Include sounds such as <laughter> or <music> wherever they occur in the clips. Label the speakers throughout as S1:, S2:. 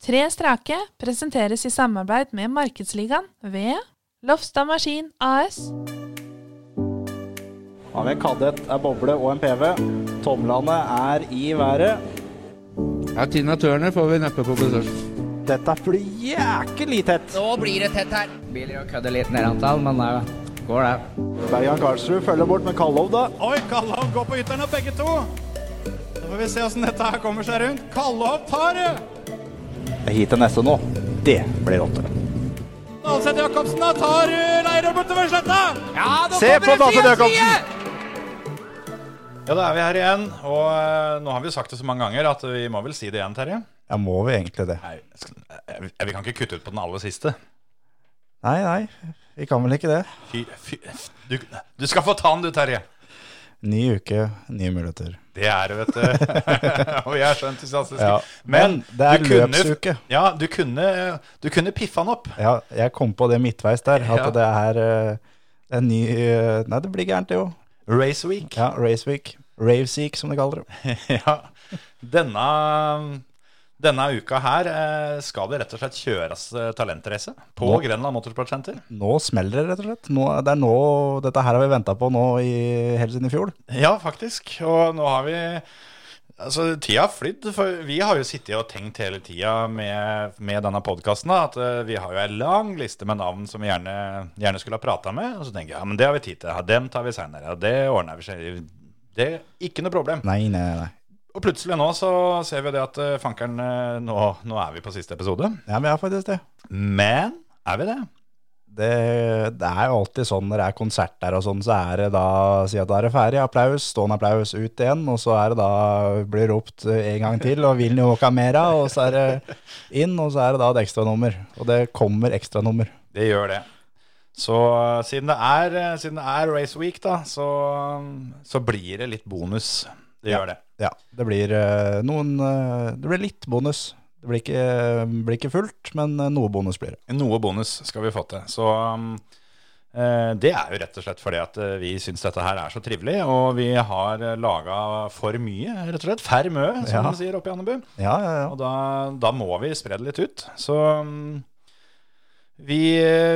S1: Tre strake presenteres i samarbeid med Markedsligaen ved Lofstad Maskin AS.
S2: Har vi en kadett, en boble og en PV. Tomlene er i været.
S3: Ja, Tina Turner får vi neppe på besøk.
S2: Dette blir jækelig tett.
S4: Nå blir det tett her. Biler og kødder litt ned antall, men det går det.
S2: Bergan Karlsrud følger bort med Kallov, da.
S5: Oi, Kallov går på ytteren og begge to. Nå får vi se åssen dette her kommer seg rundt. Kallov tar det!
S2: Hit til neste nå. Det blir åtte.
S5: Dalseth Jacobsen da tar eh, Leirov bortover sletta. Ja, nå
S2: Se på Dalseth Jacobsen!
S5: Ja, da er vi her igjen. Og eh, nå har vi jo sagt det så mange ganger at vi må vel si det igjen, Terje.
S6: Ja, må vi egentlig det?
S5: Nei, sk- eh, vi kan ikke kutte ut på den aller siste.
S6: Nei, nei, vi kan vel ikke det.
S5: Fy, fy, du, du skal få ta den, du, Terje.
S6: Ny uke, nye muligheter.
S5: Det er det, vet du. <laughs> og vi er så entusiastiske.
S6: Ja.
S5: Men,
S6: Men det er
S5: du kunne-
S6: løpsuke.
S5: Ja, du kunne, du kunne piffa den opp.
S6: Ja, jeg kom på det midtveis der, at
S5: Ja.
S6: det er eh, en ny eh, Nei, det blir gærent, det jo.
S5: Race Week.
S6: Ja, Race Week. Raveseek, som de kaller det.
S5: <laughs> Ja, denne, denne uka her eh, skal det rett og slett kjøres eh, talentreise på
S6: Nå.
S5: Grenland Motorsport Center.
S6: Nå smeller det, rett og slett. Nå, det er nå, Dette her har vi venta på nå i, helt siden i fjor.
S5: Ja, faktisk. Og nå har vi Altså, tida har flydd. For vi har jo sittet og tenkt hele tida med, med denne podkasten at eh, vi har jo ei lang liste med navn som vi gjerne, gjerne skulle ha prata med. Og så tenker jeg ja, men det har vi tid til. Ja, dem tar vi seinere. Ja, det ordner vi selv. Det er ikke noe problem.
S6: Nei, nei, nei.
S5: Og plutselig nå så ser vi det at eh, fankeren, eh, nå, nå er vi på siste episode.
S6: Ja, men jeg har faktisk det.
S5: Men er vi det?
S6: det. Det er jo alltid sånn når det er konsert der og sånn, så er det da Si at da er det ferdig, applaus, stående applaus, ut igjen, og så er det da blir ropt en gang til, og vil ni åka mera, og så er det inn, og så er det da et ekstranummer. Og det kommer ekstranummer.
S5: Det gjør det. Så eh, siden det er, eh, siden det er Race Week, da, så, mm, så blir det litt bonus. Det gjør det.
S6: Ja, det blir eh, noen eh, Det blir litt bonus. Det blir ikke, blir ikke fullt, men eh, noe bonus blir det.
S5: Noe bonus skal vi få til. Så um, eh, det er jo rett og slett fordi at eh, vi syns dette her er så trivelig, og vi har laga for mye, rett og slett. Fær mø, som
S6: Ja.
S5: de sier oppe i Andebu.
S6: Ja, ja, ja.
S5: Og da, da må vi spre det litt ut. Så um, vi,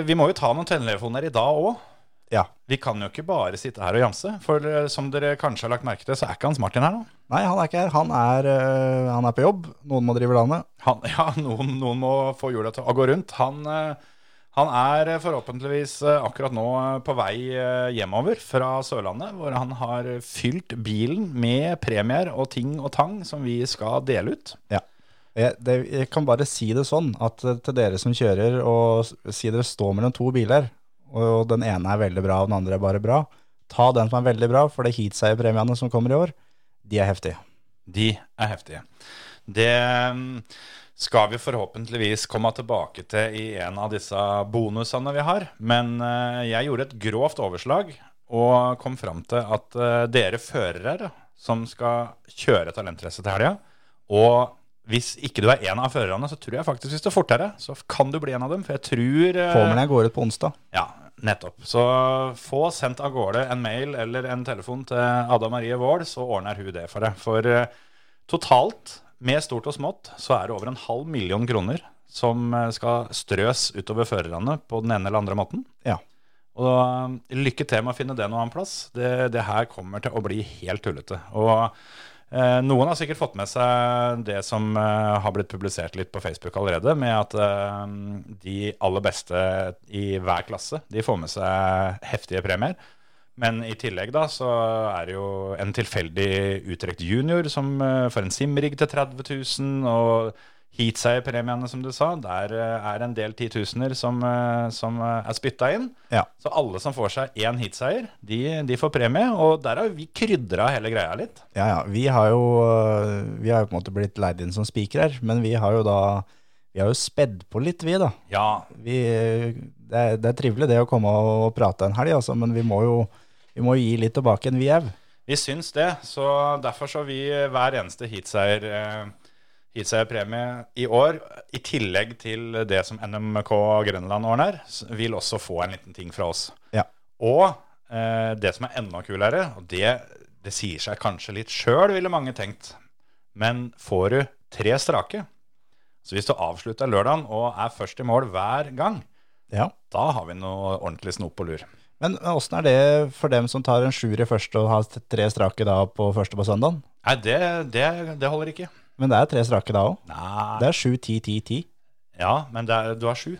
S5: vi må jo ta noen telefoner i dag òg.
S6: ja.
S5: Vi kan jo ikke bare sitte her og jamse, for eh, som dere kanskje har lagt merke til, så er ikke Hans Martin her nå.
S6: Nei, han er ikke her. Han er, eh, han er på jobb. Noen må drive landet.
S5: Han, ja, <laughs> noen, noen må få hjula til å gå rundt. Han, eh, han er eh, forhåpentligvis eh, akkurat nå eh, på vei eh, hjemover fra Sørlandet, hvor han har fylt bilen med premier og ting og tang som vi skal dele ut.
S6: Ja. Jeg, det, jeg kan bare si det sånn at eh, til dere som kjører og s- si dere står mellom to biler, og den ene er veldig bra og den andre er bare bra, ta den som er veldig bra, for det heatseierpremiene som kommer i år, de er heftige.
S5: De er heftige. Det mm, skal vi forhåpentligvis komme tilbake til i en av disse bonusene vi har. Men eh, jeg gjorde et grovt overslag og kom fram til at eh, dere førere som skal kjøre talentrace til helga, og hvis ikke du er en av førerne, så tror jeg faktisk hvis du er fortere, så kan du bli en av dem. For jeg tror eh,
S6: Formelen jeg går ut på onsdag.
S5: ja, nettopp. Så få sendt av gårde en mail eller en telefon til Ada Marie Vål, så ordner hun det for deg. For eh, totalt, med stort og smått, så er det over en halv million kroner som eh, skal strøs utover førerne på den ene eller andre måten.
S6: Ja.
S5: Og eh, lykke til med å finne det noen annen plass. Det, det her kommer til å bli helt tullete. Og eh, noen har sikkert fått med seg det som eh, har blitt publisert litt på Facebook allerede, med at eh, de aller beste i hver klasse de får med seg heftige premier. Men i tillegg da, så er det jo en tilfeldig utrekt junior som eh, får en simrigg til 30 000, og heatseierpremiene, som du sa, der eh, er en del titusener som, eh, som eh, er spytta inn.
S6: Ja.
S5: Så alle som får seg én heatseier, de, de får premie. Og der har vi krydra hele greia litt.
S6: Ja, ja. Vi har jo, øh, vi har jo på en måte blitt leid inn som spikere her, men vi har jo da vi har jo spedd på litt, vi, da.
S5: Ja,
S6: Vi, øh, det, er, det er trivelig det å komme og prate en helg, altså, men vi må jo, vi må jo gi litt tilbake en vi au.
S5: vi syns det. Så derfor så vi eh, hver eneste heatseier eh, Heatseierpremie i år, i tillegg til det som NMK Grønland ordner, s- vil også få en liten ting fra oss.
S6: Ja.
S5: Og eh, det som er enda kulere, og det, det sier seg kanskje litt sjøl, ville mange tenkt, men får du tre strake, Så hvis du avslutter lørdagen og er først i mål hver gang,
S6: Ja.
S5: da har vi noe ordentlig snop på lur.
S6: Men åssen er det for dem som tar en sjuer i første og har tre strake da på første på søndagen?
S5: Nei, det, det, det holder ikke.
S6: Men det er tre strake da òg.
S5: Nei.
S6: Det er sju, ti, ti, ti.
S5: Ja, men det er, du har sju.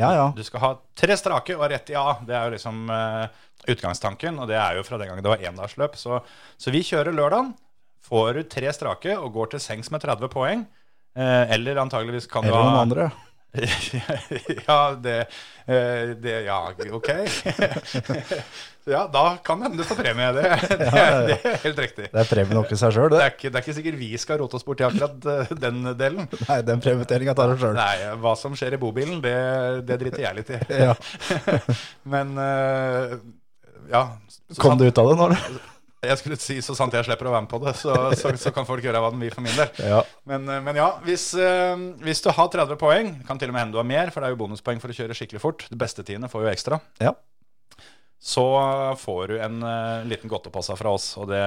S6: Ja, ja.
S5: Du skal ha tre strake og rett i A. Det er jo liksom eh, utgangstanken, og det er jo fra den gangen det var endagsløp. Så, så vi kjører lørdagen, får du tre strake og går til sengs med 30 poeng. Eh, eller antageligvis kan
S6: Eller
S5: du ha
S6: noen andre.
S5: <laughs> ja, det, eh, det Ja, ok. <laughs> ja, da kan det hende du får premie. <laughs> Det, det, det er helt riktig.
S6: Det er premien nok i seg sjøl,
S5: Det
S6: det.
S5: er, ikke, det er ikke sikkert vi skal rote oss bort i akkurat eh, den delen.
S6: Nei, den prioriteringa tar du sjøl.
S5: Nei, hva som skjer i bobilen, det, det driter jeg litt i.
S6: Ja.
S5: <laughs> Men eh, ja. så
S6: Kom
S5: sant-
S6: du ut av det nå, eller?
S5: Jeg skulle si så sant jeg slipper å være med på det, så, så, så kan folk gjøre hva de vil for min del.
S6: Ja.
S5: Men, eh, men ja, hvis, eh, hvis du har 30 poeng, kan til og med hende du har mer, for det er jo bonuspoeng for å kjøre skikkelig fort. De beste tiende får jo ekstra.
S6: Ja.
S5: Så får du en eh, liten godtepasse fra oss, og det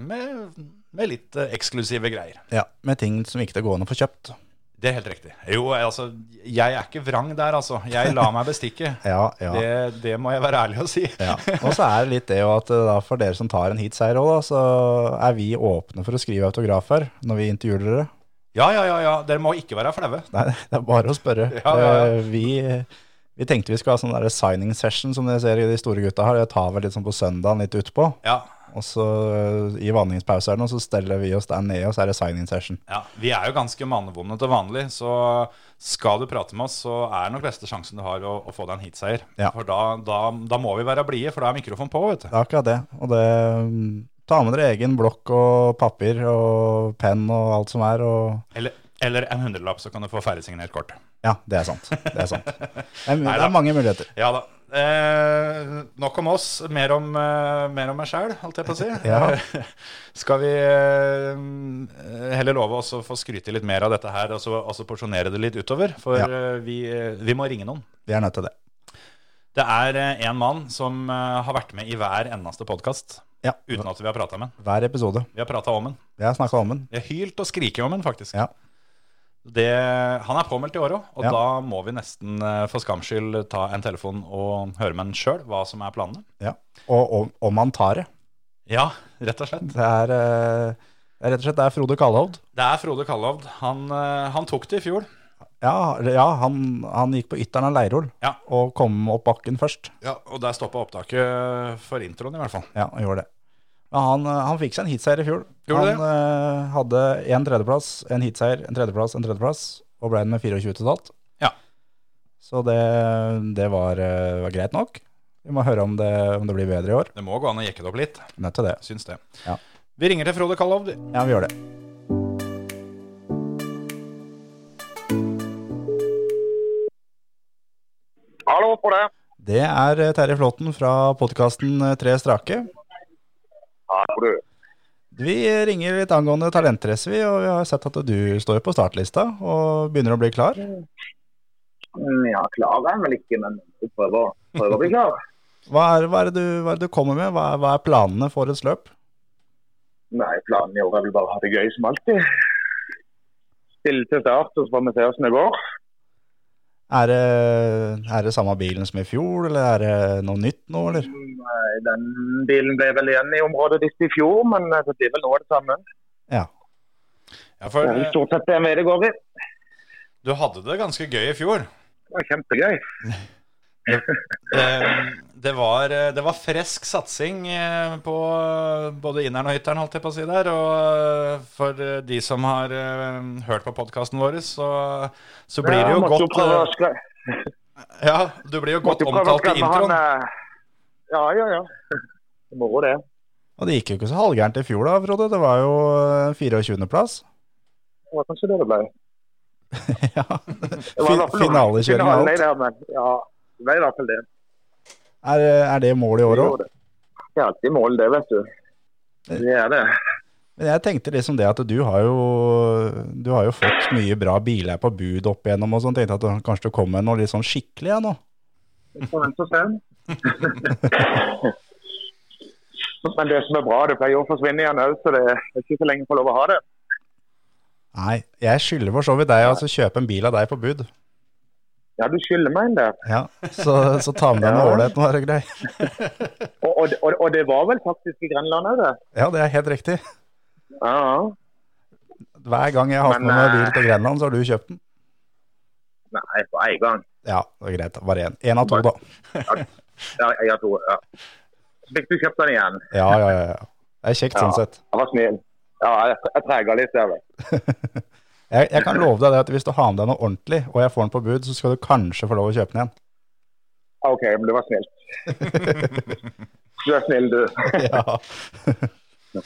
S5: med, med litt eh, eksklusive greier.
S6: ja. Med ting som ikke det går an å få kjøpt.
S5: Det er helt riktig. Jo, altså, jeg er ikke vrang der, altså. Jeg lar meg bestikke.
S6: Ja, <laughs> ja.
S5: Det, det må jeg være ærlig og si.
S6: Ja. <laughs> Og så er det litt det jo at eh, da for dere som tar en heatseier òg, da, så er vi åpne for å skrive autografer når vi intervjuer dere.
S5: <laughs>
S6: <laughs>
S5: Ja, ja, ja, ja. Dere må ikke være flaue.
S6: Nei, det er bare å spørre.
S5: Ja, ja, ja.
S6: Eh, Vi, vi tenkte vi skulle ha sånn der signing session som dere ser de store gutta har. Det tar vel litt sånn på søndagen litt utpå.
S5: Ja,
S6: Og så eh, i vanningspausene, og så steller vi oss der nede, og så er det signing session.
S5: ja. Vi er jo ganske mannevonde til vanlig, så skal du prate med oss, så er nok beste sjansen du har å, å få deg en heatseier.
S6: Ja.
S5: For da, da, da må vi være blide, for da er mikrofonen på, vet du.
S6: Det er akkurat det. Og det mm, Ta med dere egen blokk og papir og penn og alt som er. og...
S5: Eller, eller en hundrelapp, så kan du få ferdigsignert kort.
S6: Ja, det er sant. Det er sant. Det er, det
S5: Neida.
S6: er mange muligheter.
S5: Ja da. Eh, nok om oss, mer om, eh, mer om meg sjæl, holdt jeg på å si.
S6: <laughs> Ja.
S5: <laughs> Skal vi eh, heller love oss å få skryte litt mer av dette her, og så, og så porsjonere det litt utover? For
S6: Ja.
S5: eh, vi, eh, vi må ringe noen.
S6: Vi er nødt til det.
S5: Det er eh, en mann som eh, har vært med i hver eneste podkast
S6: Ja,
S5: uten at vi har prata med han.
S6: Hver episode.
S5: Vi har prata om han.
S6: Vi har snakka om den.
S5: Vi har hylt og skriket om han, faktisk.
S6: Ja.
S5: Det, han er påmeldt i år òg, og
S6: Ja.
S5: da må vi nesten eh, for skams skyld ta en telefon og høre med han sjøl hva som er planene.
S6: Ja. Og om, om han tar det.
S5: Ja, rett og slett.
S6: Det er, eh, det er rett og slett det er Frode Kalhovd.
S5: Det er Frode Kallovd. Han, eh, han tok det i fjor.
S6: Ja, ja han, han gikk på ytteren av Leirol
S5: Ja.
S6: og kom opp bakken først.
S5: Og der stoppa opptaket for introen, i hvert fall.
S6: Ja, han gjorde det. Men han, eh, han fikk seg en heatseier i fjor.
S5: Gjorde
S6: han eh, hadde en tredjeplass, en heatseier, en tredjeplass, en tredjeplass, og ble med 24 totalt.
S5: Ja.
S6: Så det, det var, eh, var greit nok. Vi må høre om det, om det blir bedre i år.
S5: Det må gå an å jekke det opp litt,
S6: Nødt til det.
S5: syns det.
S6: Ja.
S5: Vi ringer til Frode Kallovd.
S6: Ja, vi gjør det.
S7: Hallo på det.
S6: Det er eh, Terje Flåten fra podkasten Tre strake.
S7: Takk for du.
S6: Vi ringer litt angående talentrace, vi, og vi har sett at du står på startlista og begynner å bli klar.
S7: Mm, Ja, klar er jeg vel ikke, men vi prøver, prøver å bli klar.
S6: Hva er, hva er, det, du, hva er det du kommer med? Hva er, hva er planene for et løp?
S7: Nei, planen i år er vel bare å ha det gøy som alltid. Stille til start, og så får vi se hvordan det går.
S6: Er det, er det samme bilen som i fjor, eller er det noe nytt nå, eller?
S7: Nei, Mm, Den bilen ble vel igjen i området ditt i fjor, men eh, det blir vel nå det samme.
S5: Ja,
S7: Det
S5: for
S7: er vel
S5: eh,
S7: stort sett BMW det går i.
S5: du hadde det ganske gøy i fjor.
S7: Det var kjempegøy.
S5: Eh, Det var, eh, det var fresk satsing eh, på både inneren og ytteren, holdt jeg på å si der. Og eh, for eh, de som har eh, hørt på podkasten vår, så, så blir det
S7: Ja,
S5: jo
S7: måtte
S5: godt
S7: prøve å
S5: eh,
S7: skre-
S5: Ja, du blir jo godt
S7: måtte jo prøve å
S5: omtalt i
S7: skremme han,
S5: introen.
S7: eh, Ja, ja, ja. Det er Moro det.
S6: Og det gikk jo ikke så halvgærent i fjor da, Frode. Det var jo eh, 24.-plass.
S7: Det var kanskje det det ble.
S6: <laughs> ja.
S7: Det var i hvert fall noe.
S6: Finalekjøring og
S7: Finale i
S6: alt.
S7: det, men Ja, det ble i hvert fall det.
S6: Er, er det mål i år òg?
S7: Det er alltid mål, det, vet du. Det er det.
S6: Men jeg tenkte liksom det at du har jo, du har jo fått mye bra biler på bud opp igjennom og sånn. Tenkte at du, kanskje du kom med noe litt sånn skikkelig ja, nå.
S7: På venstre siden.
S8: <laughs>
S7: Men det som er bra, det pleier å forsvinne igjen òg, så det er ikke så lenge jeg får lov å ha det.
S6: Nei, jeg skylder for så vidt deg å altså, kjøpe en bil av deg på bud.
S8: Ja, du skylder meg en der.
S6: Ja, så, så ta med deg noe
S8: Ja.
S6: ålreit nå, er det greit?
S8: Og, og, og, og det var vel faktisk i Grenland òg, det.
S6: Ja, det er helt riktig.
S8: Ja, ja.
S6: Hver gang jeg har hatt
S8: Men,
S6: med meg
S8: eh,
S6: bil til Grenland, så har du kjøpt den.
S8: Nei, på en gang.
S6: Ja, det er greit. Bare én. Én av to, da.
S8: Ja, jeg har to. Ja. Så fikk du kjøpt den igjen.
S6: Ja, ja, ja. ja. Det er kjekt
S8: Ja.
S6: sånn sett.
S8: Jeg var snill. Ja, jeg, jeg trega litt der, vet du.
S6: Jeg, jeg kan love deg det at hvis du har med deg noe ordentlig, og jeg får den på bud, så skal du kanskje få lov å kjøpe den igjen.
S8: OK, men du var snill. Du er snill, du. <laughs>
S6: Ja.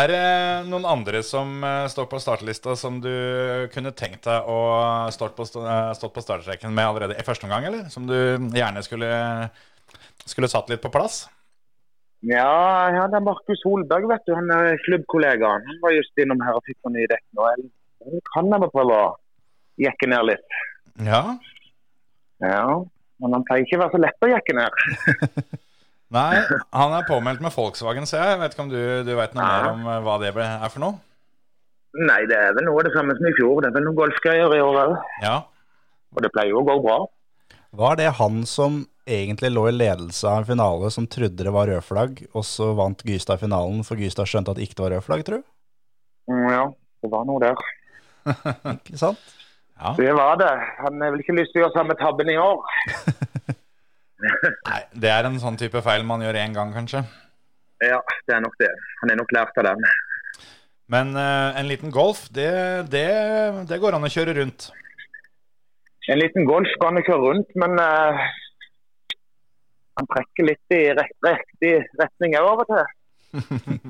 S5: Er det noen andre som eh, står på startlista som du kunne tenkt deg å stått på, sta- eh, stått på startstreken med allerede i første omgang, eller? Som du gjerne skulle, skulle satt litt på plass?
S8: Ja, ja, det er Markus Holberg, vet du. Han er klubbkollegaen. Han var just innom her og fikk noen nye dekk nå. Jeg- jeg Kan jeg bare prøve å jekke ned litt?
S5: Ja.
S8: Ja, men han pleier ikke å være så lett å jekke ned.
S5: Nei, han er påmeldt med Volkswagen, ser jeg. Jeg Vet ikke om du, du vet noe mer
S8: Ja.
S5: om eh, hva det ble- er for noe?
S8: Nei, det er vel noe av det samme som i fjor. Det er vel noen golfgreier i år òg.
S5: Ja.
S8: Og det pleier jo å gå bra.
S6: Var det han som egentlig lå i ledelse av en finale som trodde det var rødflagg, og så vant Gystad finalen, for Gystad skjønte at det ikke var rødflagg, tror du?
S8: Mm, Ja, det var noe der.
S6: Ikke sant?
S5: ja.
S8: Det var det. Han har vel ikke lyst til å gjøre samme tabben i år.
S5: Nei, det er en sånn type feil man gjør én gang, kanskje.
S8: Ja, det er nok det. Han er nok lært av den.
S5: Men eh, en liten golf, det, det, det går an å kjøre rundt.
S8: En liten golf kan han kjøre rundt, men eh, han trekker litt i rett, riktig retning også av og til.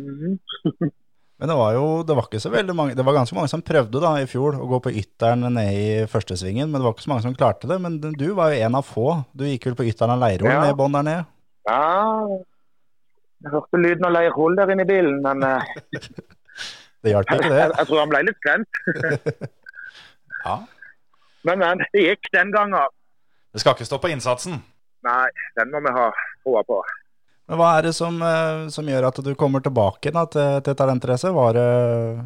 S8: Mhm.
S6: Men det var jo det var ikke så veldig mange Det var ganske mange som prøvde da i fjor å gå på ytteren ned i førstesvingen, men det var ikke så mange som klarte det. Men du var jo en av få. Du gikk vel på ytteren av Leiroll
S8: Ja.
S6: ned i bånn der nede?
S8: Ja, jeg hørte lyden av leirhull der inne i bilen, men eh,
S6: Det hjalp ikke,
S8: jeg,
S6: det.
S8: jeg tror han ble litt skremt.
S5: Ja.
S8: Men, men, det gikk den gangen.
S5: Det skal ikke stå på innsatsen.
S8: Nei, den må vi ha troa på.
S6: Men hva er det som, eh, som gjør at du kommer tilbake da, til, til talentrace? Var, det-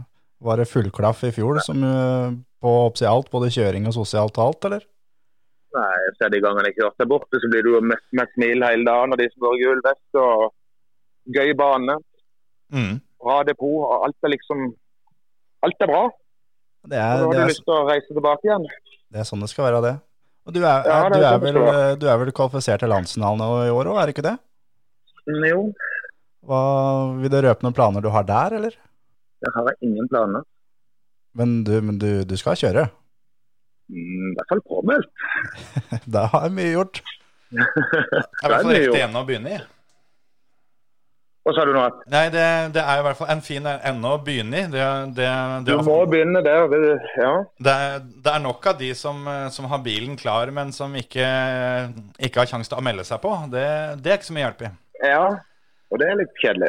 S6: var det fullklaff i fjor som, eh, på oppsi alt, både kjøring og sosialt og alt, eller?
S8: Nei, så er det de gangene jeg kjørte deg borte, så blir du jo mest med smil hele dagen, og de som går i gul vest og gøy bane,
S5: Mm.
S8: bra depot, og alt er liksom Alt er bra.
S6: Det
S8: Og
S6: er,
S8: Nå har
S6: det,
S8: du
S6: er,
S8: lyst til å reise tilbake igjen.
S6: det er sånn det skal være, det. Og du er,
S8: Ja,
S6: er, du
S8: det er
S6: er,
S8: sånn det
S6: vel, eh,
S8: skal
S6: du er vel kvalifisert til landsfinalen nå i år òg, er det ikke det?
S8: Mm, Jo,
S6: Hva, vil du røpe noen planer du har der, eller?
S8: jeg har ingen planer.
S6: Men du, men du, du skal kjøre. <laughs>
S8: Mm, I hvert fall påmeldt.
S6: Da har jeg mye gjort.
S5: Det er i hvert fall
S8: Det er det
S5: riktig
S8: jo.
S5: ende å begynne i.
S8: Og så har du nå at
S5: Nei, det, det er i hvert fall en fin ende å begynne i. Det, det,
S8: du
S5: det,
S8: må begynne der. det- Ja.
S5: det, er, det er nok av de som, eh, som har bilen klar, men som ikke, ikke har sjanse til å melde seg på. Det, det er ikke så mye hjelp i.
S8: ja. Og det er litt kjedelig.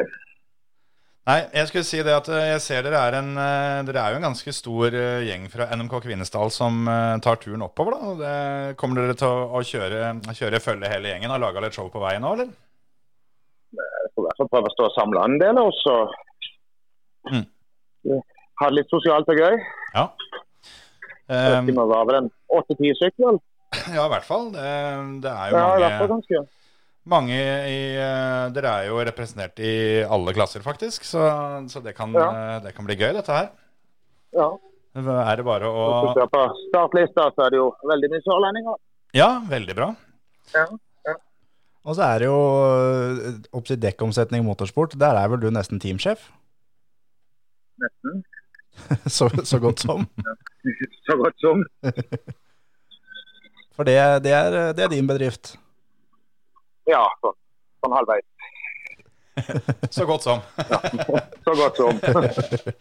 S5: Nei, jeg skulle si det at eh, jeg ser dere er en eh, Dere er jo en ganske stor eh, gjeng fra NMK Kvinesdal som eh, tar turen oppover, da. Og Det, kommer dere til å, å kjøre, kjøre følge hele gjengen og lage litt show på veien nå, eller?
S8: Jeg får i hvert fall prøve å stå og samle en del, og så
S5: Mm.
S8: ha det litt sosialt og gøy.
S5: Ja. Eh,
S8: Jeg vet ikke om det var vel en åtte-ti stykker, vel?
S5: ja, i hvert fall. Det, det er jo
S8: Ja, i hvert
S5: mange
S8: fall ganske.
S5: Mange i eh, Dere er jo representert i alle klasser, faktisk. Så, så det, kan,
S8: Ja.
S5: eh, det kan bli gøy, dette her.
S8: Ja.
S5: Er det bare å
S8: Hvis du ser på startlista, så er det jo veldig mye sørlendinger.
S5: Ja, veldig bra.
S6: Og så er det jo øh, opp til dekkomsetning i motorsport. Der er vel du nesten teamsjef?
S8: Nesten.
S6: <laughs> så, så godt som.
S8: Så godt som.
S6: For det, det, er, det er din bedrift.
S8: Ja, sånn. Sånn halvveis.
S5: Så godt som.
S8: Så godt som.
S5: <laughs>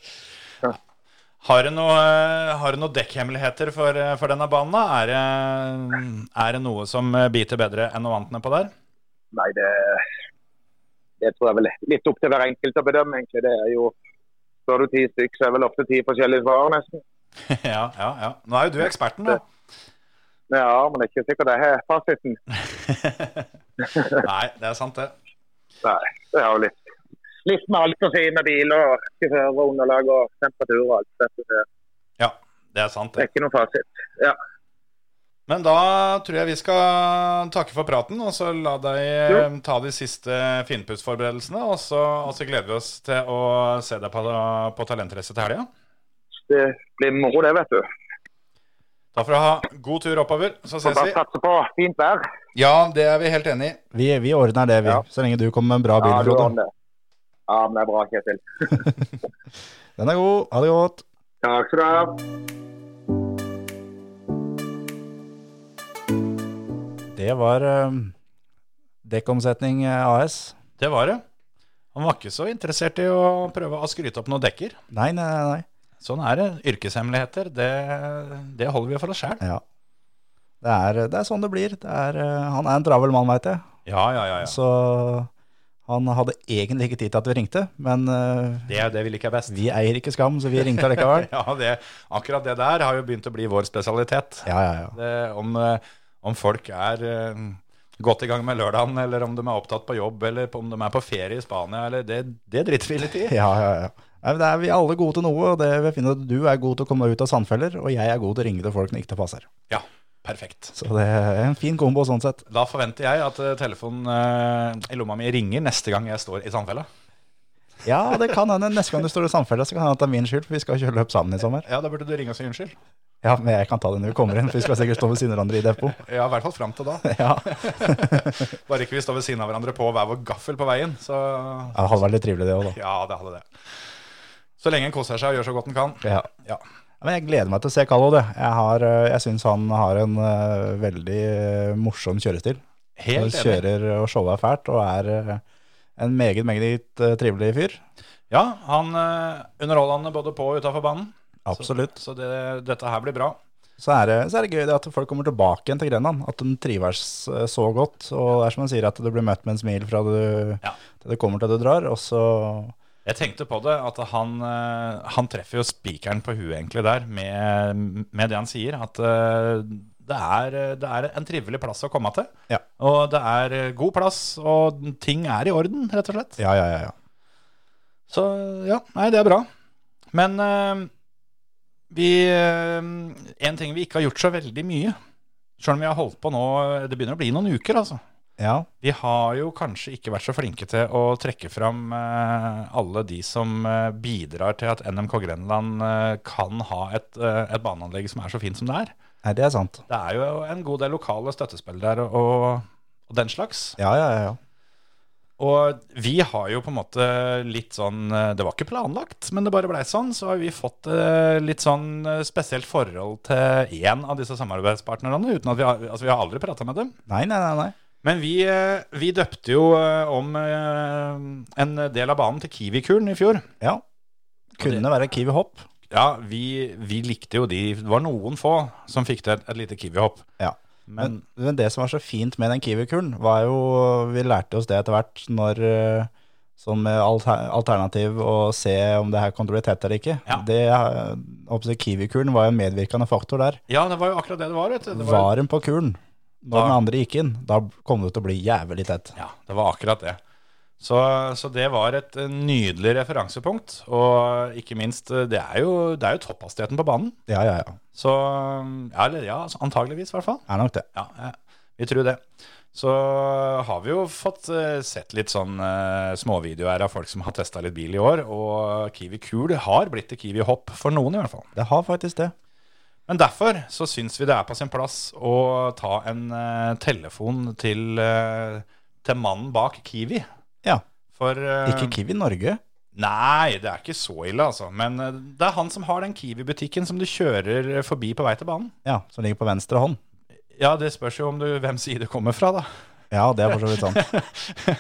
S5: Har du noe, eh, har du noe dekkhemmeligheter for, eh, for denne banen? da? Er det, er det noe som eh, biter bedre enn noe annet nedpå der? <laughs>
S8: Nei, det, det tror jeg vel er litt opp til hver enkelt å bedømme, egentlig. Det er jo Står du ti stykk, så er vel ofte ti forskjellige svar, nesten.
S5: ja, ja, ja. Nå er jo du eksperten, da.
S8: Ja, men det er ikke sikkert jeg har fasiten.
S5: Nei, det er sant, det.
S8: Nei, det er jo litt
S7: Litt med alt å si med bil og sjåfør og underlag og temperatur og alt. dette her.
S5: Ja, det er sant.
S7: Det
S5: det.
S7: er ikke noe fasit. Ja.
S5: Men da tror jeg vi skal takke for praten, og så la deg eh, ta de siste finpussforberedelsene. Og så, og så gleder vi oss til å se deg på, på Talentrace til helga.
S7: Det blir moro, det, vet du.
S5: Da får du ha god tur oppover, så
S7: Får
S5: ses
S7: bare
S5: vi.
S7: satse på fint vær.
S5: Ja, det er vi helt enig i.
S6: Vi, vi ordner det, vi.
S7: Ja.
S6: Så lenge du kommer med en bra bil,
S7: Ja, du
S6: Frode.
S7: ordner det. Ja, men det er bra, Kjetil.
S6: Den er god. Ha det godt.
S7: Takk skal du ha.
S6: Det var eh, Dekkomsetning eh, AS.
S5: Det var det. Han var ikke så interessert i å prøve å skryte opp noen dekker.
S6: Nei, nei, nei, nei.
S5: Sånn er det. Yrkeshemmeligheter, det, det holder vi for oss sjæl.
S6: Ja. Det er, det er sånn det blir. Det er, eh, han er en travel mann, veit jeg.
S5: Ja, ja, ja, ja.
S6: Så han hadde egentlig ikke tid til at vi ringte, men eh,
S5: Det er jo det vi liker best.
S6: vi eier ikke skam, så vi ringte allikevel.
S5: <laughs> Ja, det, akkurat det der har jo begynt å bli vår spesialitet.
S6: Ja, ja, ja.
S5: Det, om, eh, om folk er eh, godt i gang med lørdagen, eller om de er opptatt på jobb, eller på- om de er på ferie i Spania, eller det, det driter vi litt i.
S6: ja, ja, ja. Nei, men det er, vi er alle gode til noe, og det vi finner at du er god til å komme ut av sandfeller, og jeg er god til å ringe til folk når ikke det passer.
S5: Ja, perfekt.
S6: Så det er en fin kombo sånn sett.
S5: Da forventer jeg at eh, telefonen eh, i lomma mi ringer neste gang jeg står i Sandfella.
S6: Ja, det kan hende neste gang du står i sandfeller, så kan hende at det er min skyld, for vi skal kjøre løp sammen i sommer.
S5: Ja, da burde du ringe og si unnskyld.
S6: Ja, men jeg kan ta det når vi kommer inn, for vi skal sikkert stå ved siden av hverandre i depot.
S5: Ja, i hvert fall fram til da.
S6: Ja,
S5: Bare ikke vi står ved siden av hverandre på hver vår gaffel på veien, så
S6: Ja, det hadde vært litt trivelig det òg, da.
S5: ja, det hadde det. Så lenge en koser seg og gjør så godt en kan.
S6: Ja.
S5: Ja.
S6: Ja, Men jeg gleder meg til å se Kallo, det. Jeg, har, eh, jeg syns han har en eh, veldig eh, morsom kjørestil. Han
S5: Helt enig.
S6: kjører og shower fælt, og er eh, en meget, meget eh, trivelig fyr.
S5: Ja, han eh, underholdende både på og utafor banen.
S6: Absolutt.
S5: Så det, dette her blir bra.
S6: Så er, det, så er det gøy det at folk kommer tilbake igjen til Grenland. At de trives eh, så godt. Og det er som han sier, at du blir møtt med en smil fra du,
S5: Ja.
S6: til du kommer til du drar. Og så
S5: Jeg tenkte på det, at han, eh, han treffer jo spikeren på huet egentlig der, med, med det han sier, at eh, det er, det er en trivelig plass å komme til.
S6: Ja.
S5: Og det er god plass, og ting er i orden, rett og slett.
S6: Ja, ja, ja. ja.
S5: Så ja, nei, det er bra. Men eh, vi eh, En ting vi ikke har gjort så veldig mye, sjøl om vi har holdt på nå Det begynner å bli noen uker, altså.
S6: ja.
S5: Vi har jo kanskje ikke vært så flinke til å trekke fram eh, alle de som eh, bidrar til at NMK Grenland eh, kan ha et, eh, et baneanlegg som er så fint som det er.
S6: Nei, det er sant.
S5: Det er jo en god del lokale støttespillere og, og den slags.
S6: Ja, ja, ja. ja.
S5: Og vi har jo på en måte litt sånn eh, Det var ikke planlagt, men det bare blei sånn. Så har vi fått eh, litt sånn eh, spesielt forhold til én av disse samarbeidspartnerne. Uten at vi har, altså vi har aldri prata med dem.
S6: Nei, nei, nei. nei.
S5: Men vi, eh, vi døpte jo eh, om eh, en del av banen til Kiwi-kuren i fjor.
S6: Ja. Kunne være Kiwi Hopp.
S5: Ja, vi, vi likte jo de. Det var noen få som fikk til et, et lite Kiwi-hopp.
S6: Ja.
S5: Men
S6: Men, men det som var så fint med den Kiwi-kulen, var jo Vi lærte oss det etter hvert når eh, som alter- alternativ å se om det her kom til å bli tett eller ikke.
S5: Ja.
S6: Det, eh, oppsett, Kiwi-kulen var jo en medvirkende faktor der.
S5: ja, det var jo akkurat det det var. vet du. Det var,
S6: Var den på kulen når
S5: Da-
S6: den andre gikk inn, da kom det til å bli jævlig tett.
S5: ja, det var akkurat det. Så, så det var et eh, nydelig referansepunkt. Og ikke minst, eh, det er jo, det er jo topphastigheten på banen.
S6: Ja, ja, ja.
S5: Så eh, ja, eller ja, antageligvis i hvert fall.
S6: Er nok det.
S5: Ja, ja, vi tror det. Så har vi jo fått eh, sett litt sånn eh, småvideoer av folk som har testa litt bil i år, og Kiwi Kul har blitt til Kiwi Hopp for noen, i hvert fall.
S6: Det har faktisk det.
S5: Men derfor så syns vi det er på sin plass å ta en eh, telefon til, eh, til mannen bak Kiwi.
S6: Ja.
S5: For eh,
S6: Ikke Kiwi Norge.
S5: Nei, det er ikke så ille, altså. Men eh, det er han som har den Kiwi-butikken som du kjører forbi på vei til banen.
S6: Ja, som ligger på venstre hånd.
S5: Ja, det spørs jo om du, hvem side du kommer fra, da.
S6: Ja, det er for så vidt
S5: <laughs>
S6: sant.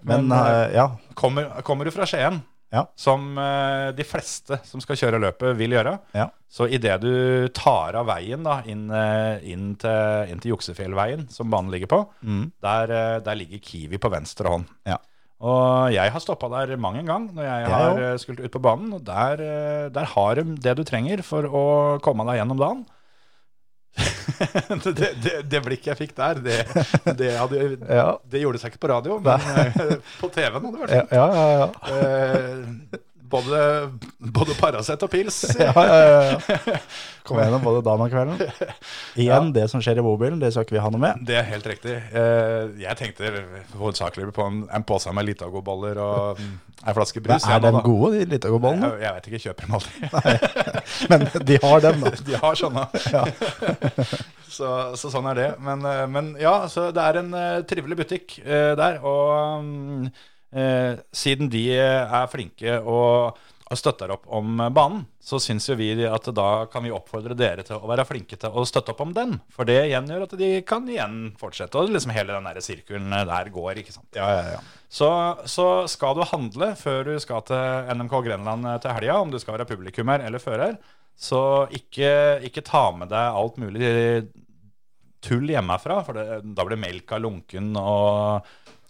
S6: Men,
S5: Men, eh,
S6: eh, ja.
S5: Kommer, kommer du fra Skien,
S6: Ja.
S5: som eh, de fleste som skal kjøre løpet, vil gjøre,
S6: Ja.
S5: så idet du tar av veien da, inn, eh, inn, til, inn til Juksefjellveien, som banen ligger på,
S6: Mm.
S5: der, eh, der ligger Kiwi på venstre hånd.
S6: Ja.
S5: Og jeg har stoppa der mang en gang når jeg
S6: Jeg
S5: har
S6: òg.
S5: eh, skulle ut på banen. Og der, eh, der har de det du trenger for å komme deg gjennom dagen. <laughs> det, det, det blikket jeg fikk der, det, det, hadde,
S6: Ja.
S5: det gjorde seg ikke på radio, men eh, <laughs> på TV-en hadde det vært
S6: Ja,
S5: fint.
S6: ja, ja. ja.
S5: Eh, både, både Paracet og pils.
S6: <laughs> Ja, ja, ja, ja.
S5: <laughs>
S6: Kom gjennom både dagen og kvelden. Igjen, det som skjer i bobilen, det skal ikke vi ha noe med.
S5: Det er helt riktig. Eh, Jeg tenkte hovedsakelig på en, en pose med Litago-boller og ei flaske
S6: Men
S5: brus.
S6: er
S5: jeg
S6: de
S5: nå, da.
S6: gode, de Litago-bollene?
S5: Jeg, jeg vet ikke, jeg kjøper dem aldri.
S6: Men de har dem,
S5: <laughs>
S6: da.
S5: De har sånne. <laughs> så, så sånn er det. Men, eh, men ja, så det er en eh, trivelig butikk eh, der. Og mm, eh, siden de eh, er flinke og, og støtter opp om eh, banen, så syns jo vi at da kan vi oppfordre dere til å være flinke til å støtte opp om den. For det igjen gjør at de kan igjen fortsette. Og liksom hele den der sirkelen der går, ikke sant. Så, så skal du handle før du skal til NMK Grenland eh, til helga, om du skal være publikummer eller fører, så ikke, ikke ta med deg alt mulig tull hjemmefra, for det, da blir melka lunken og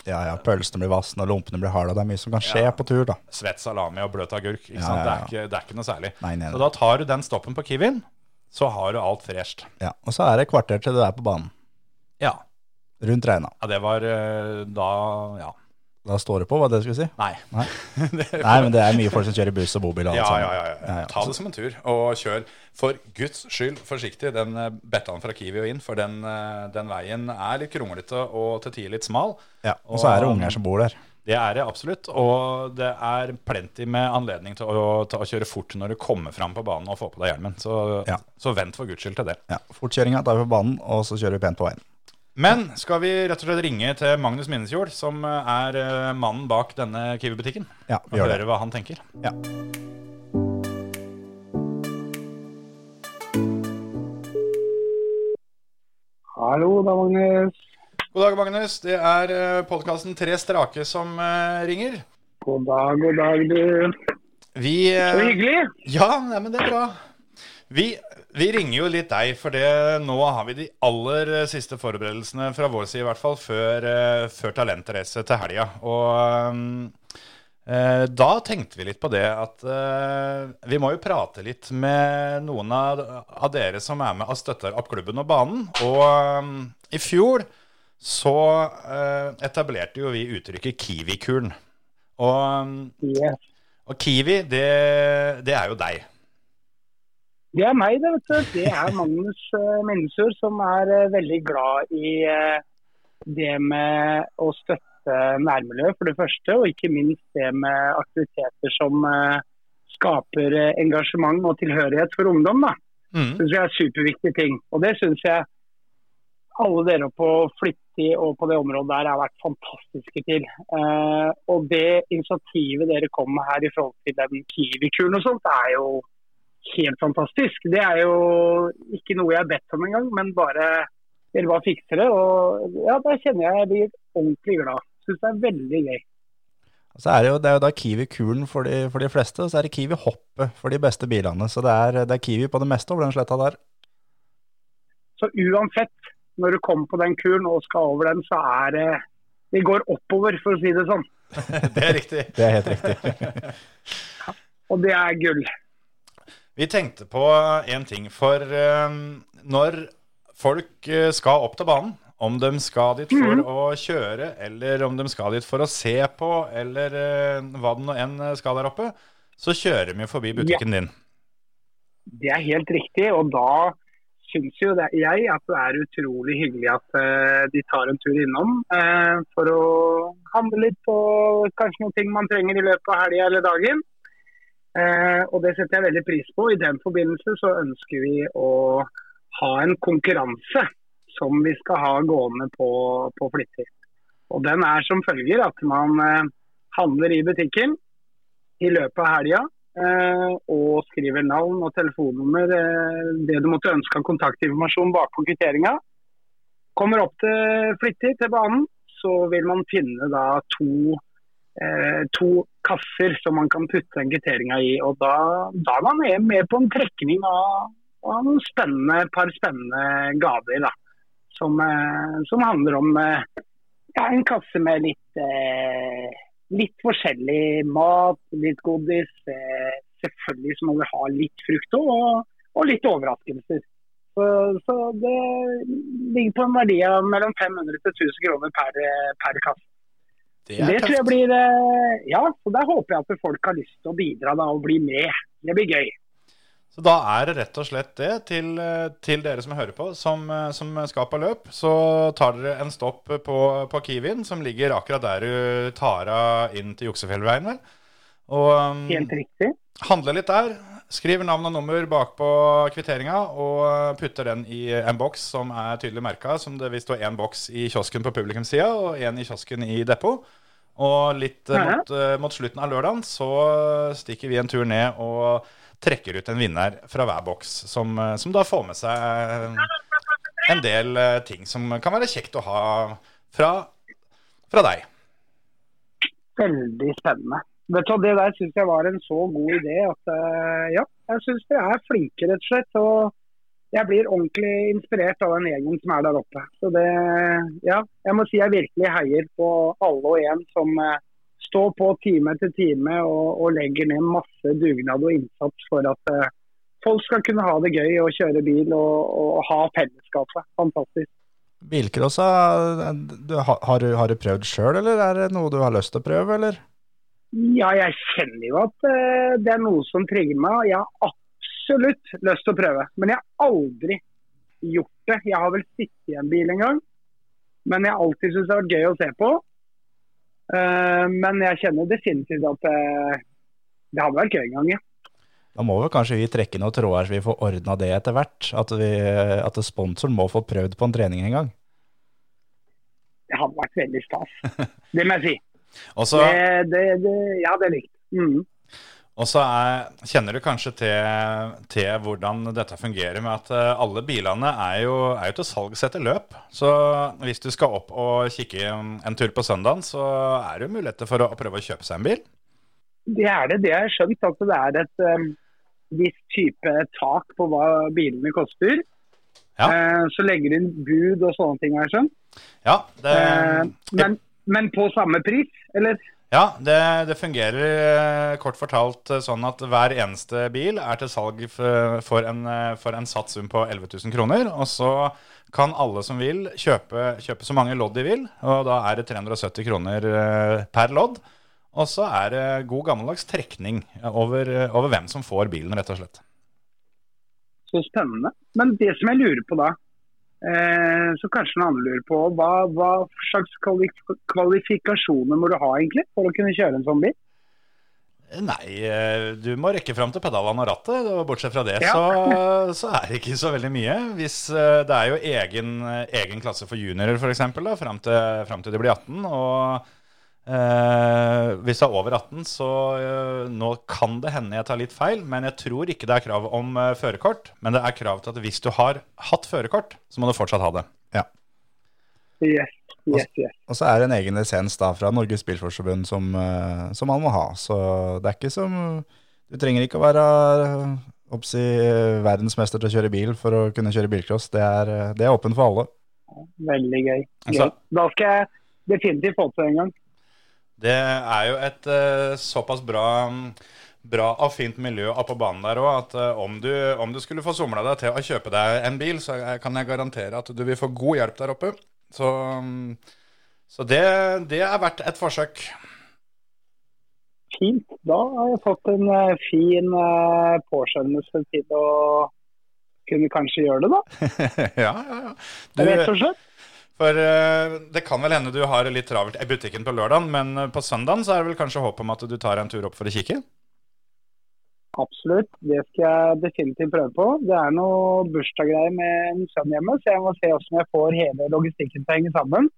S6: Ja, ja, Pølsene blir vassende, og lompene blir harde. Det er mye som kan skje på tur, da.
S5: svett salami og bløt agurk. Ikke
S6: Ja, ja, ja.
S5: sant? Det, er ikke, det er ikke noe særlig.
S6: Nei, nei, nei.
S5: Så da tar du den stoppen på Kiwien, så har du alt fresht.
S6: Ja, Og så er det kvarter til du er på banen.
S5: Ja.
S6: Rundt regna.
S5: ja. Det var eh, da Ja.
S6: Da står det på hva det skulle si.
S5: Nei.
S6: Nei.
S5: <laughs> Det-
S6: Nei, men det sånn. er mye folk som kjører buss og bobil og alt
S5: Ja,
S6: sammen.
S5: ja, ja, ja. Ta det som en tur, og kjør. For guds skyld forsiktig, den eh, Bettan fra Kiwi og inn, for den, eh, den veien er litt kronglete og til tider litt smal.
S6: Ja, Og så er det unger som bor der.
S5: Det er det absolutt, og det er plenty med anledning til å, til å kjøre fort når du kommer fram på banen og får på deg hjelmen. Så,
S6: Ja.
S5: så vent for guds skyld til det.
S6: Ja, Fortkjøringa tar vi på banen, og så kjører vi pent på veien.
S5: Men skal vi rett og slett ringe til Magnus Minnesjord, som eh, er eh, mannen bak denne Kiwi-butikken,
S6: Ja,
S5: og
S6: vi gjør det.
S5: høre hva han tenker?
S6: Ja.
S7: Hallo, da, Magnus.
S5: God dag, Magnus. Det er podkasten Tre strake som eh, ringer.
S7: God dag, god dag, du.
S5: Vi eh,
S7: Så hyggelig.
S5: Ja, nei, men det er bra. Vi, vi ringer jo litt deg, for det, nå har vi de aller eh, siste forberedelsene fra vår side, i hvert fall, før, eh, før talentrace til helga. Og ehm, eh, da tenkte vi litt på det at eh, vi må jo prate litt med noen av, av dere som er med og støtter opp klubben og banen. Og ehm, i fjor så eh, etablerte jo vi uttrykket Kiwi-kuren. Og ehm,
S7: Yes.
S5: og Kiwi, det, det er jo deg.
S7: Det er meg, det, vet du. Det er Magnus uh, Minnesur, som er eh, veldig glad i eh, det med å støtte nærmiljøet, for det første. Og ikke minst det med aktiviteter som eh, skaper eh, engasjement og tilhørighet for ungdom. da.
S5: Mm.
S7: Det synes jeg er superviktige ting. Og det syns jeg alle dere på Flytti og på det området der har vært fantastiske til. Eh, og det initiativet dere kom med her i forhold til den Kiwi-kuren og sånt, er jo helt fantastisk. Det er jo ikke noe jeg har bedt om engang, men bare dere bare fikser det. Og ja, da kjenner jeg jeg blir ordentlig glad. Syns det er veldig gøy.
S6: Så er det, jo, det er jo da Kiwi-kulen for, de- for de fleste, og så er det Kiwi-hoppet for de beste bilene. Så det er, det er Kiwi på det meste over den sletta der.
S7: Så uansett, når du kommer på den kuren og skal over den, så er det Det går oppover, for å si det sånn.
S5: <laughs> Det er riktig.
S6: Det er helt riktig.
S7: Og det er gull.
S5: <laughs> Vi tenkte på en ting, for eh, når folk eh, skal opp til banen, om de skal dit for
S6: Mhm.
S5: å kjøre, eller om de skal dit for å se på, eller eh, hva det nå enn skal der oppe, så kjører de jo forbi butikken din.
S7: Det er helt riktig, og da syns jo det, jeg at det er utrolig hyggelig at eh, de tar en tur innom eh, for å handle litt på kanskje noen ting man trenger i løpet av helga eller dagen. Eh, og det setter jeg veldig pris på. I den forbindelse så ønsker vi å ha en konkurranse som vi skal ha gående på, på Flitter. Og den er som følger at man eh, handler i butikken i løpet av helga. Eh, og skriver navn og telefonnummer, eh, det du måtte ønske av kontaktinformasjon bakpå kvitteringa. Kommer opp til Flitter, til banen, så vil man finne da to, eh, to kasser som man kan putte den kvitteringa i. Og da, da er man med- med på en trekning av, av noen spennende, par spennende gaver, da. Som, eh, som handler om eh, ja, en kasse med litt eh, litt forskjellig mat, litt godis. Eh, selvfølgelig så må vi ha litt frukt også, og, og litt overraskelser. Så, så det ligger på en verdi av mellom 500 til 1000 kroner per, per kasse.
S5: Det
S7: Det,
S5: er
S7: tror jeg
S5: tøft.
S7: blir eh, Ja, så der håper jeg at folk har lyst til å bidra da, og bli med. Det blir gøy.
S5: Så da er det rett og slett det til, eh, til dere som hører på, som, eh, som skal på løp. Så tar dere en stopp på, på Kiwien, som ligger akkurat der du tar av inn til Juksefjellveien, vel. Og um,
S7: Helt riktig.
S5: handle litt der. Skriv navn og nummer bakpå kvitteringa og putter den i en boks som er tydelig merka. Som det vil stå én boks i kiosken på publikumssida og én i kiosken i depot. Og litt eh,
S7: Ja.
S5: mot, eh, mot slutten av lørdagen så stikker vi en tur ned og trekker ut en vinner fra hver boks, som, eh, som da får med seg eh, en del eh, ting som kan være kjekt å ha fra, fra deg.
S7: Veldig spennende. Vet du, hva, Det der syns jeg var en så god idé at eh, ja, jeg syns dere er flinke, rett og slett. Og jeg blir ordentlig inspirert av den gjengen som er der oppe. Så det, ja, jeg må si jeg virkelig heier på alle og en som eh, står på time til time og, og legger ned masse dugnad og innsats for at eh, folk skal kunne ha det gøy og kjøre bil og, og ha fellesskapet. Fantastisk.
S6: Bilcrossa, du, har, har du, har du prøvd sjøl, eller er det noe du har lyst til å prøve, eller?
S7: Ja, jeg kjenner jo at eh, det er noe som trigger meg. og Jeg har absolutt lyst til å prøve, men jeg har aldri gjort det. Jeg har vel sittet i en bil en gang, men jeg har alltid syntes det har vært gøy å se på. Eh, men jeg kjenner definitivt at eh, det hadde vært gøy en gang, ja.
S6: Da må vel kanskje vi trekke noen tråder så vi får ordna det etter hvert. At, vi, at sponsoren må få prøvd på en trening en gang.
S7: Det hadde vært veldig stas. Det må jeg si.
S5: Og
S7: Det,
S5: så-
S7: det, det, ja, det er likt. Mm.
S5: Og så er, kjenner du kanskje til, til hvordan dette fungerer med at eh, alle bilene er jo, er jo til salgs etter løp. Så hvis du skal opp og kikke en en tur på søndagen, så er det jo muligheter for å, å prøve å kjøpe seg en bil.
S7: Det er det. Det har jeg skjønt. At det er et um, visst type tak på hva bilene koster.
S5: Ja.
S7: Eh, så legger de inn bud og sånne ting, har jeg skjønt.
S5: Ja, det,
S7: Eh, men, men på samme pris, eller?
S5: ja det, det fungerer eh, kort fortalt eh, sånn at hver eneste bil er til salg f- for en, eh, for en satt sum på 11 000 kroner. Og så kan alle som vil, kjøpe, kjøpe så mange lodd de vil, og da er det 370 kroner eh, per lodd. Og så er det god gammeldags trekning over, eh, over hvem som får bilen, rett og slett.
S7: Så spennende. Men det som jeg lurer på da, eh, så kanskje noen andre lurer på, hva, hva slags kvali kvalifikasjoner må du ha egentlig for å kunne kjøre en sånn bil?
S5: Nei, eh, du må rekke fram til pedalene og rattet, og bortsett fra det
S7: Ja.
S5: så, så er det ikke så veldig mye. Hvis, eh, det er jo egen, eh, egen klasse for juniorer f.eks., fram til, frem til de blir 18. Og eh, hvis du er over 18, så eh, nå kan det hende jeg tar litt feil, men jeg tror ikke det er krav om eh, førerkort. Men det er krav til at hvis du har hatt førerkort, så må du fortsatt ha det.
S7: Yes, yes, yes.
S6: Og så er det en egen lisens da fra Norges Bilsportsforbund som, eh, som man må ha. Så det er ikke som Du trenger ikke å være eh, oppsi, eh, verdensmester til å kjøre bil for å kunne kjøre bilcross. Det er, eh, det er åpen for alle.
S7: Veldig gøy. gøy.
S5: Altså-
S7: Da skal jeg definitivt få til det en gang.
S5: Det er jo et eh, såpass bra, mm, bra og fint miljø oppå banen der òg at eh, om, du, om du skulle få somla deg til å kjøpe deg en bil, så jeg- kan jeg garantere at du vil få god hjelp der oppe. Så, mm, så det, det er verdt et forsøk.
S7: Fint. Da har jeg fått en eh, fin eh, påskjønnelse til å kunne kanskje gjøre det, da.
S5: <laughs> ja, ja, ja.
S7: Rett
S5: Du,
S7: og slett.
S5: for eh, det kan vel hende du har litt travelt i butikken på lørdagen, men eh, på søndagen så er det vel kanskje håp om at du tar en tur opp for å kikke?
S7: Absolutt. Det skal jeg definitivt prøve på. Det er noe bursdaggreier med en sønn hjemme, så jeg må se hvordan jeg får hele logistikken til å henge sammen.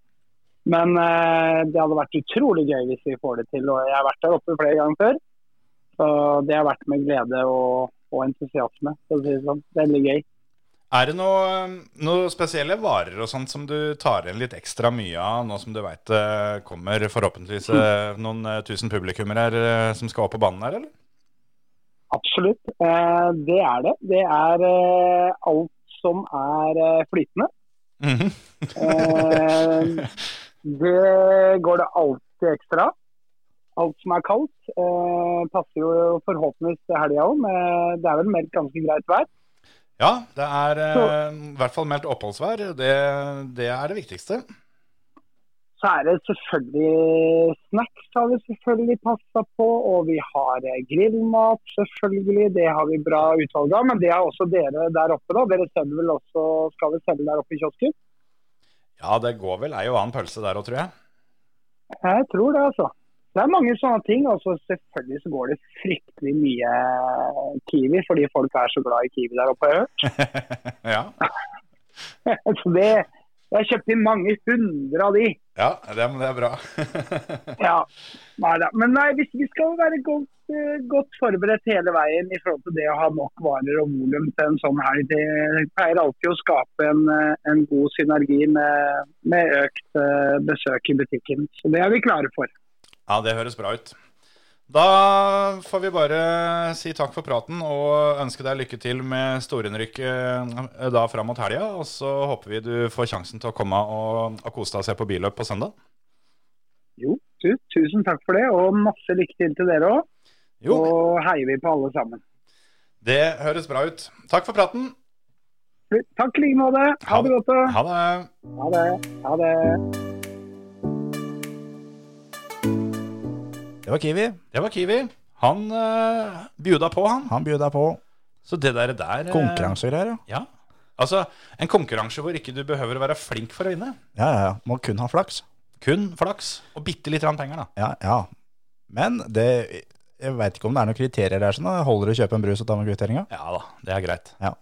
S7: Men eh, det hadde vært utrolig gøy hvis vi får det til. Og jeg har vært der oppe flere ganger før. Så det har vært med glede og, og entusiasme. for å si Det sånn. Veldig gøy.
S5: Er det noe, noe spesielle varer og sånt som du tar igjen litt ekstra mye av, nå som du veit det kommer forhåpentligvis eh, noen eh, tusen publikummere her, eh, som skal opp på banen her, eller?
S7: Absolutt. Eh, det er det. Det er eh, alt som er eh, flytende.
S5: Mhm.
S7: Eh, det går det alltid ekstra av. Alt som er kaldt, eh, passer jo forhåpentligvis til helga òg. Det er vel meldt ganske greit vær.
S5: Ja, det er eh, i hvert fall meldt oppholdsvær. Det, det er det viktigste.
S7: Så er det selvfølgelig snacks har vi selvfølgelig passa på, og vi har eh, grillmat selvfølgelig. Det har vi bra utvalg av, men det har også dere der oppe. da. Dere selger vel også, skal vel selge der oppe i kiosken?
S5: Ja, det går vel ei og annen pølse der òg, tror jeg. <laughs>
S7: Jeg tror det, altså. Det er mange sånne ting. og så selvfølgelig så går det fryktelig mye Kiwi, fordi folk er så glad i Kiwi der oppe. <laughs> har jeg hørt.
S5: ja.
S7: Så det, jeg kjøpte mange hundre av de.
S5: ja, det, men det er bra. <laughs>
S7: Ja, nei da. Men nei, vi, vi skal jo være godt, eh, godt forberedt hele veien i forhold til det å ha nok varer og volum til en sånn helg. Det pleier alltid å skape en, eh, en god synergi med, med økt eh, besøk i butikken. Så det er vi klare for.
S5: ja, det høres bra ut. Da får vi bare si takk for praten og ønske deg lykke til med storinnrykket eh, da fram mot helga. Og så håper vi du får sjansen til å komme og, og kose deg og se på billøp på søndag.
S7: Jo, tu, tusen takk for det, og masse lykke til til dere òg.
S5: Jo,
S7: Og heier vi på alle sammen.
S5: det høres bra ut. Takk for praten.
S7: Takk i like måte. Ha det godt. da.
S5: Ha det.
S7: Ha det. Ha det.
S6: Det var Kiwi.
S5: Det var Kiwi. Han uh, bjuda på, han.
S6: Han bjuda på
S5: Så det der, der eh,
S6: konkurranse og greier. ja.
S5: Ja. Altså, en konkurranse hvor ikke du behøver å være flink for å vinne.
S6: Ja, ja, ja. Må kun ha flaks.
S5: Kun flaks og bitte litt grann penger, da.
S6: Ja, ja. Men det Jeg veit ikke om det er noen kriterier der. Sånn, da. holder det å kjøpe en brus og ta med kvitteringa?
S5: Ja da, det er greit.
S6: Ja.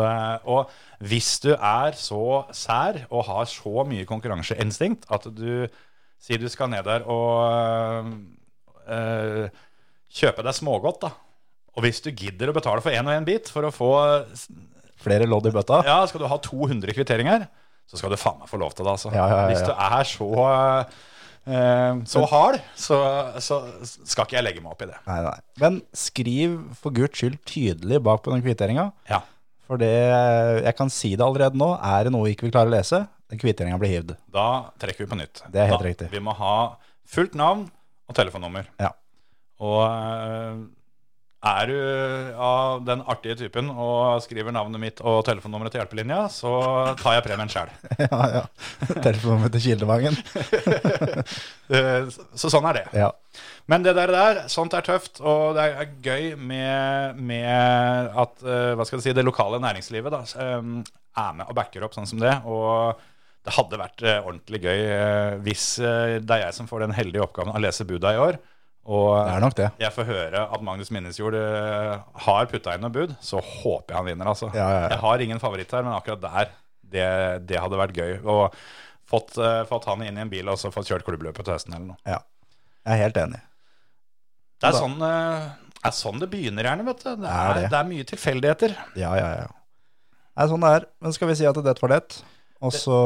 S5: Eh, og hvis du er så sær og har så mye konkurranseinstinkt at du sier du skal ned der og eh, kjøpe deg smågodt, da. Og hvis du gidder å betale for én og én bit for å få
S6: Flere lodd i bøtta?
S5: Ja, skal du ha 200 kvitteringer, så skal du faen meg få lov til det, altså.
S6: Ja, ja, ja, ja.
S5: Hvis du er så eh, så hard, så, så skal ikke jeg legge meg opp i det.
S6: Nei, nei. Men skriv for guds skyld tydelig bak på den kvitteringa.
S5: Ja.
S6: For det, jeg kan si det allerede nå, er det noe vi ikke vil klare å lese, den kvitteringa blir hivd.
S5: Da trekker vi på nytt.
S6: Det er helt
S5: da,
S6: riktig.
S5: Vi må ha fullt navn og telefonnummer.
S6: Ja.
S5: Og eh, er du av den artige typen og skriver navnet mitt og telefonnummeret til hjelpelinja, så tar jeg premien
S6: <laughs>
S5: sjøl.
S6: <laughs> ja, ja. Telefonnummeret til Kildevangen.
S5: så sånn er det.
S6: Ja.
S5: Men det der, der, sånt er tøft, og det er gøy med, med at eh, hva skal jeg si, det lokale næringslivet da, eh, er med og backer opp sånn som det. Og det hadde vært eh, ordentlig gøy eh, hvis eh, det er jeg som får den heldige oppgaven å lese buda i år, og
S6: Det er nok det.
S5: jeg får høre at Magnus Minnesjord eh, har putta inn noe bud, så håper jeg han vinner, altså.
S6: Ja, ja, ja.
S5: Jeg har ingen favoritt her, men akkurat der, det, det hadde vært gøy. Og fått, eh, fått han inn i en bil og så fått kjørt klubbløpet til høsten eller noe.
S6: Jeg er helt enig.
S5: Det er
S6: Da-
S5: sånn, eh, er sånn det begynner gjerne, vet du. Det
S6: er
S5: er,
S6: det.
S5: det er mye tilfeldigheter.
S6: Ja, ja, ja. Det er sånn det er. Men skal vi si at det var det? Og så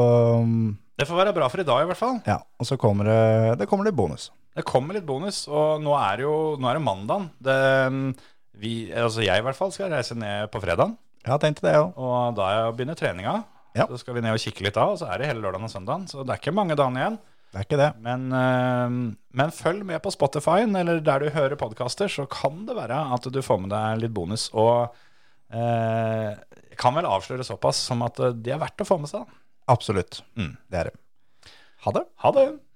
S5: Det får være bra for i dag i hvert fall.
S6: ja, og så kommer det, det kommer litt bonus.
S5: Det kommer litt bonus, og nå er det jo nå er det mandagen. Det, mm, vi, altså jeg i hvert fall skal reise ned på fredagen,
S6: Ja, jeg tenkte det, jeg òg.
S5: og da jeg begynner treninga,
S6: Ja.
S5: så skal vi ned og kikke litt av, og så er det hele lørdagen og søndagen, så det er ikke mange dagene igjen.
S6: Det er ikke det.
S5: Men, eh, men følg med på Spotify eller der du hører podkaster, så kan det være at du får med deg litt bonus. Og eh, jeg kan vel avsløre såpass som at eh, det er verdt å få med seg. da.
S6: Absolutt.
S5: Mm.
S6: Det er det. Ha det.
S5: Ha det!